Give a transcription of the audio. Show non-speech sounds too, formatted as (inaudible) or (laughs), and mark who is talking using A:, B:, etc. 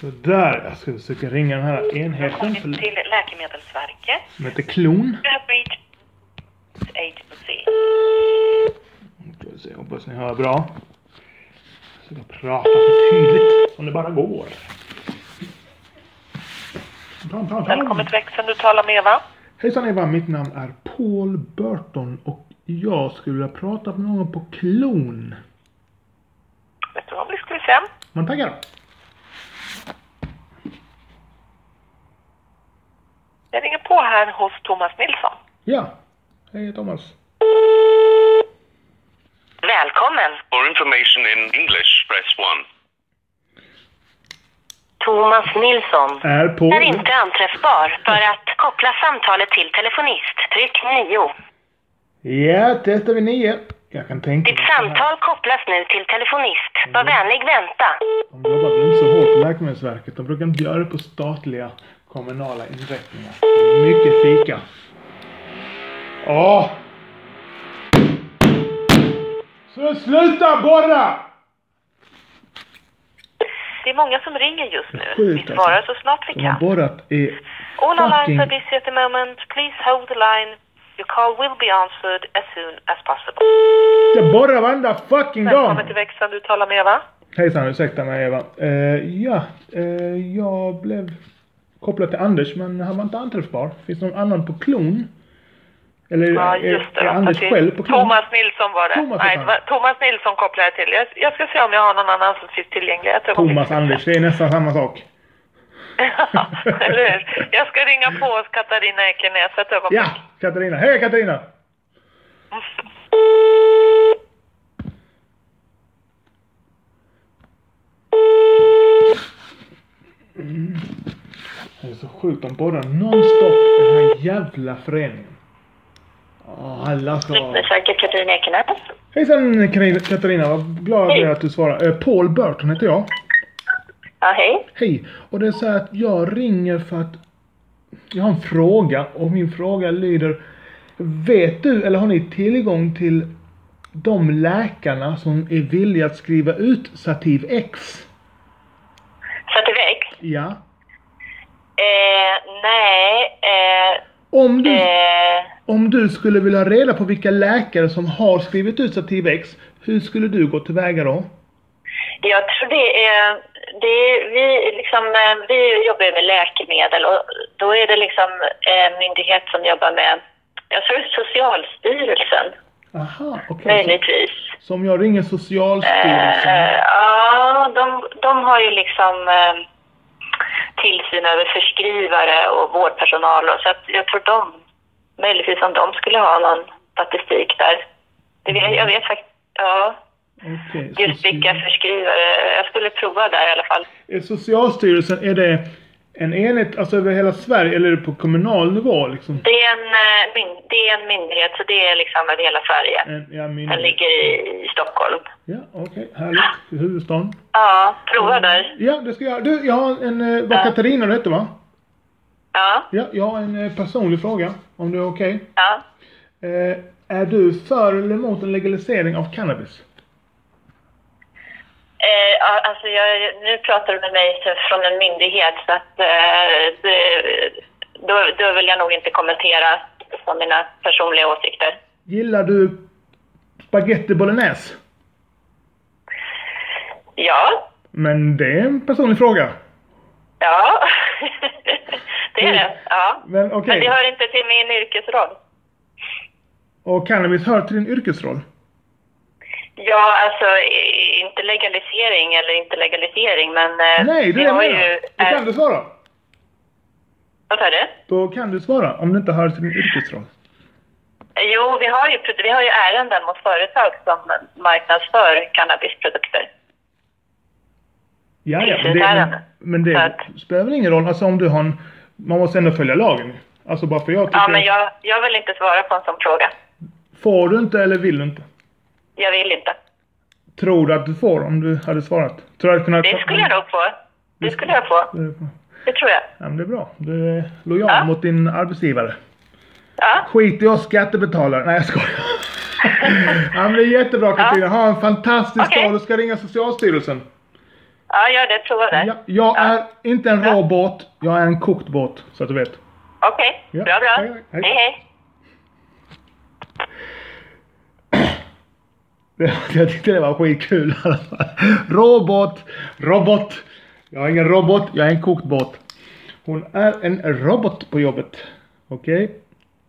A: Sådär, jag ska försöka ringa den här enheten
B: Välkommen
A: för,
B: till Läkemedelsverket.
A: som heter Klon.
B: You have reached agency.
A: Ska vi se, hoppas ni hör bra. Jag ska prata så tydligt som det bara går. Tam, tam, tam.
B: Välkommen till växeln, du talar med Eva.
A: Hejsan Eva, mitt namn är Paul Burton och jag skulle vilja prata med någon på Klon.
B: Vet du vad, nu ska vi se.
A: Man taggar?
B: Jag ringer på här hos Thomas Nilsson.
A: Ja. Hej Thomas.
B: Välkommen.
C: For information in English, press 1.
B: Thomas Nilsson.
A: Är Paul...
B: Är inte anträffbar. För att koppla samtalet till telefonist, tryck 9.
A: Ja, testar vi nio. Jag kan tänka
B: Ditt samtal kopplas nu till telefonist. Var vänlig vänta.
A: De jobbar väl inte så hårt på Läkemedelsverket. De brukar inte göra det på statliga kommunala inrättningar. Mycket fika. Åh! Så sluta borra!
B: Det är många som ringer just nu.
A: Sjukt, alltså.
B: Vi svarar så snart vi
A: De har
B: kan.
A: borrat i...
B: All our lines
A: fucking-
B: are busy at the moment. Please hold the line. Your call will be answered as soon as possible.
A: Jag borrar varenda fucking dag!
B: Välkommen till växeln, du talar med Eva.
A: Hejsan, ursäkta mig Eva. Eh, ja, eh, jag blev kopplad till Anders men han var inte anträffbar. Finns det någon annan på klon? Eller
B: Ja,
A: är,
B: just det.
A: är
B: ja,
A: Anders
B: precis.
A: själv på klon?
B: Thomas Nilsson var det.
A: Thomas
B: Nej,
A: heter
B: det var,
A: han.
B: Thomas Nilsson kopplar jag till. Jag, jag ska se om jag har någon annan som finns tillgänglig. Ett ögonblick.
A: Thomas Anders, det är nästan samma sak.
B: (laughs) Ja, Eller hur? Jag ska ringa på hos Katarina Ekenäs ett ögonblick.
A: Ja, Katarina. Hej Katarina! Mm. Det är så sjukt, de borrar nonstop i den här jävla föreningen. Åh, alla ska...
B: Säkert Katarina Ekenäs.
A: Hejsan Karin- Katarina, vad glad jag är
B: Hej.
A: att du svarar. Eh, Paul Burton heter jag.
B: Ja, hej.
A: Hej! Och det är så här att jag ringer för att jag har en fråga och min fråga lyder Vet du eller har ni tillgång till de läkarna som är villiga att skriva ut Sativ X?
B: Sativek?
A: Ja.
B: Eh, nej. Eh,
A: Om du,
B: eh,
A: om du skulle vilja ha reda på vilka läkare som har skrivit ut Sativ X, hur skulle du gå tillväga då?
B: Jag tror det är... Det är vi, liksom, eh, vi jobbar ju med läkemedel och då är det liksom en myndighet som jobbar med... Jag tror det är Socialstyrelsen,
A: Aha, okej.
B: möjligtvis.
A: Så om jag ringer
B: Eh,
A: Socialstyrelsen?
B: Ja, de, de har ju liksom eh, tillsyn över förskrivare och vårdpersonal. Och, så att jag tror de, möjligtvis om de skulle ha någon statistik där. Det, vet- jag vet faktiskt... Ja,
A: Okej.
B: just vilka
A: Socialstyrelsen.
B: förskrivare. Jag skulle prova där i alla fall.
A: Är Socialstyrelsen, är det en enhet alltså över hela Sverige eller är det på kommunal nivå liksom?
B: Det är, en, eh, myn- det är en myndighet, så det är liksom över hela Sverige.
A: En, ja, min...
B: Den ligger i, i Stockholm.
A: Ja, okej. Härligt. I huvudstaden.
B: Ja, prova där.
A: Ja, det ska jag göra. Du, jag har en... eh, Vad Katarina det hette va?
B: Ja,
A: Ja, jag har en eh, personlig fråga. Om det är okej.
B: ja.
A: Eh, är du för eller emot en legalisering av cannabis?
B: Eh, ja, alltså jag, nu pratar du med mig så- från en myndighet, så att, eh, det, då, då vill jag nog inte kommentera på mina personliga åsikter.
A: Gillar du spaghetti bolognese?
B: Ja,
A: Men det är en personlig fråga.
B: ja. (laughs) det är det. Ja.
A: Men Mm. okej.
B: Men det hör inte till min yrkesroll.
A: Och cannabis hör till din yrkesroll?
B: Ja, alltså i- inte legalisering eller inte legalisering, men... eh,
A: Nej, det är
B: vi
A: det jag
B: har
A: menar.
B: ju,
A: Då
B: eh,
A: kan du svara.
B: Vad sa du?
A: Då kan du svara, om det inte hör till din yrkesroll.
B: Jo, vi har, ju, vi har ju ärenden mot företag som marknadsför cannabisprodukter.
A: Ja, ja,
B: Precis,
A: men det,
B: där är
A: men,
B: den.
A: men
B: Så
A: det
B: att-
A: spelar väl ingen roll. Alltså om du har en, Man måste ändå följa lagen. Alltså bara för jag tycker...
B: Ja, men jag, jag vill inte svara på en sån fråga.
A: Får du inte eller vill du inte?
B: Jag vill inte.
A: Tror du att du får om du hade svarat? Tror du att kunna...
B: Det skulle jag nog få. Det skulle jag få. Det tror jag.
A: Ja, men det är bra. Du är lojal
B: Ja.
A: mot din arbetsgivare.
B: Ja,
A: Skit i oss skattebetalare. Nej, jag
B: (laughs)
A: skojar. ja, men det är jättebra Katarina. Ha en fantastisk
B: Okej.
A: dag. Du ska ringa Socialstyrelsen.
B: Ja, gör det. Prova det.
A: Ja, jag är inte en rå båt, jag är en kokt båt. Så att du vet.
B: Okej,
A: Ja.
B: bra, bra.
A: Hej, hej.
B: hej. hej.
A: Det, (laughs) jag tyckte det var skitkul i alla fall. Robot, robot. Jag är ingen robot, jag är en kokt båt. Hon är en robot på jobbet. Okej?